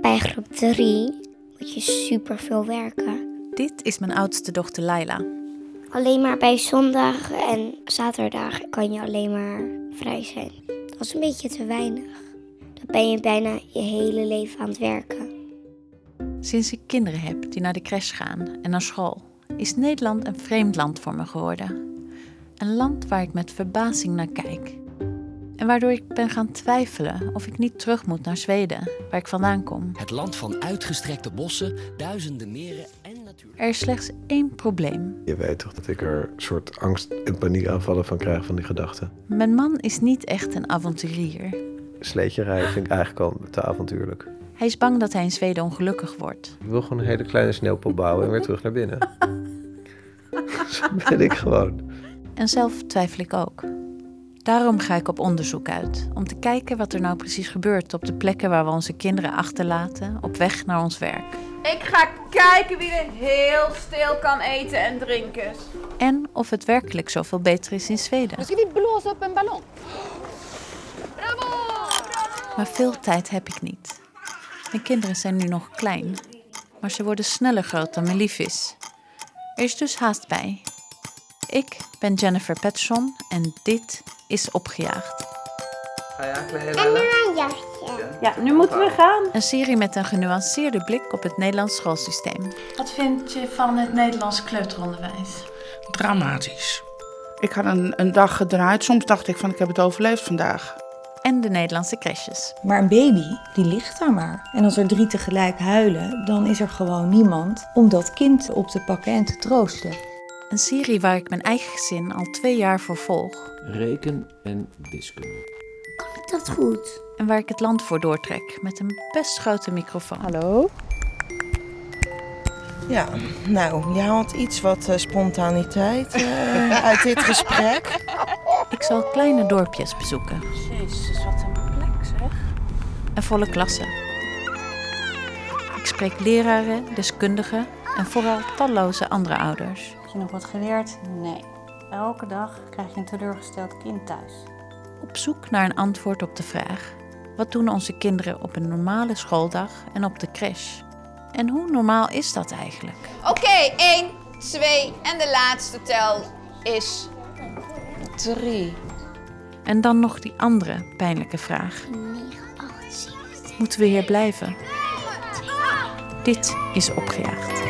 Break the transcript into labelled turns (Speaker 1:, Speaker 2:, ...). Speaker 1: Bij groep 3 moet je super veel werken.
Speaker 2: Dit is mijn oudste dochter Laila.
Speaker 1: Alleen maar bij zondag en zaterdag kan je alleen maar vrij zijn. Dat is een beetje te weinig. Dan ben je bijna je hele leven aan het werken.
Speaker 2: Sinds ik kinderen heb die naar de crash gaan en naar school, is Nederland een vreemd land voor me geworden. Een land waar ik met verbazing naar kijk. En waardoor ik ben gaan twijfelen of ik niet terug moet naar Zweden, waar ik vandaan kom.
Speaker 3: Het land van uitgestrekte bossen, duizenden meren en natuur.
Speaker 2: Er is slechts één probleem.
Speaker 4: Je weet toch dat ik er soort angst- en paniekaanvallen van krijg van die gedachten.
Speaker 2: Mijn man is niet echt een avonturier.
Speaker 4: Sleetje rijden vind ik eigenlijk al te avontuurlijk.
Speaker 2: Hij is bang dat hij in Zweden ongelukkig wordt.
Speaker 4: Ik wil gewoon een hele kleine sneeuwpop bouwen en weer terug naar binnen. Zo ben ik gewoon.
Speaker 2: En zelf twijfel ik ook. Daarom ga ik op onderzoek uit, om te kijken wat er nou precies gebeurt op de plekken waar we onze kinderen achterlaten op weg naar ons werk.
Speaker 5: Ik ga kijken wie er heel stil kan eten en drinken.
Speaker 2: En of het werkelijk zoveel beter is in Zweden.
Speaker 6: ska vi blåsa upp en ballong.
Speaker 2: Maar veel tijd heb ik niet. Mijn kinderen zijn nu nog klein, maar ze worden sneller groot dan mijn lief is. Er is dus haast bij. Ik ben Jennifer Petson en dit is Opgejaagd.
Speaker 1: En nu een jasje.
Speaker 7: Ja, nu moeten we gaan.
Speaker 2: Een serie met een genuanceerde blik op het Nederlands schoolsysteem. Wat vind je van het Nederlands kleuteronderwijs?
Speaker 8: Dramatisch. Ik had een, een dag gedraaid. Soms dacht ik van ik heb het overleefd vandaag.
Speaker 2: En de Nederlandse crashes.
Speaker 9: Maar een baby, die ligt daar maar. En als er drie tegelijk huilen, dan is er gewoon niemand om dat kind op te pakken en te troosten.
Speaker 2: Een serie waar ik mijn eigen gezin al twee jaar voor volg.
Speaker 10: Reken en wiskunde.
Speaker 1: Kan ik dat goed?
Speaker 2: En waar ik het land voor doortrek met een best grote microfoon.
Speaker 7: Hallo?
Speaker 11: Ja, nou, je haalt iets wat eh, spontaniteit eh, uit dit gesprek.
Speaker 2: Ik zal kleine dorpjes bezoeken.
Speaker 7: Jezus, wat een plek zeg.
Speaker 2: en volle klassen. Ik spreek leraren, deskundigen en vooral talloze andere ouders.
Speaker 6: Heb je nog wat geleerd? Nee. Elke dag krijg je een teleurgesteld kind thuis.
Speaker 2: Op zoek naar een antwoord op de vraag: wat doen onze kinderen op een normale schooldag en op de crash? En hoe normaal is dat eigenlijk?
Speaker 5: Oké, 1, 2 en de laatste tel is.
Speaker 11: Drie.
Speaker 2: En dan nog die andere pijnlijke vraag:
Speaker 1: 9, 8, 7,
Speaker 2: moeten we hier blijven? Dit is opgejaagd.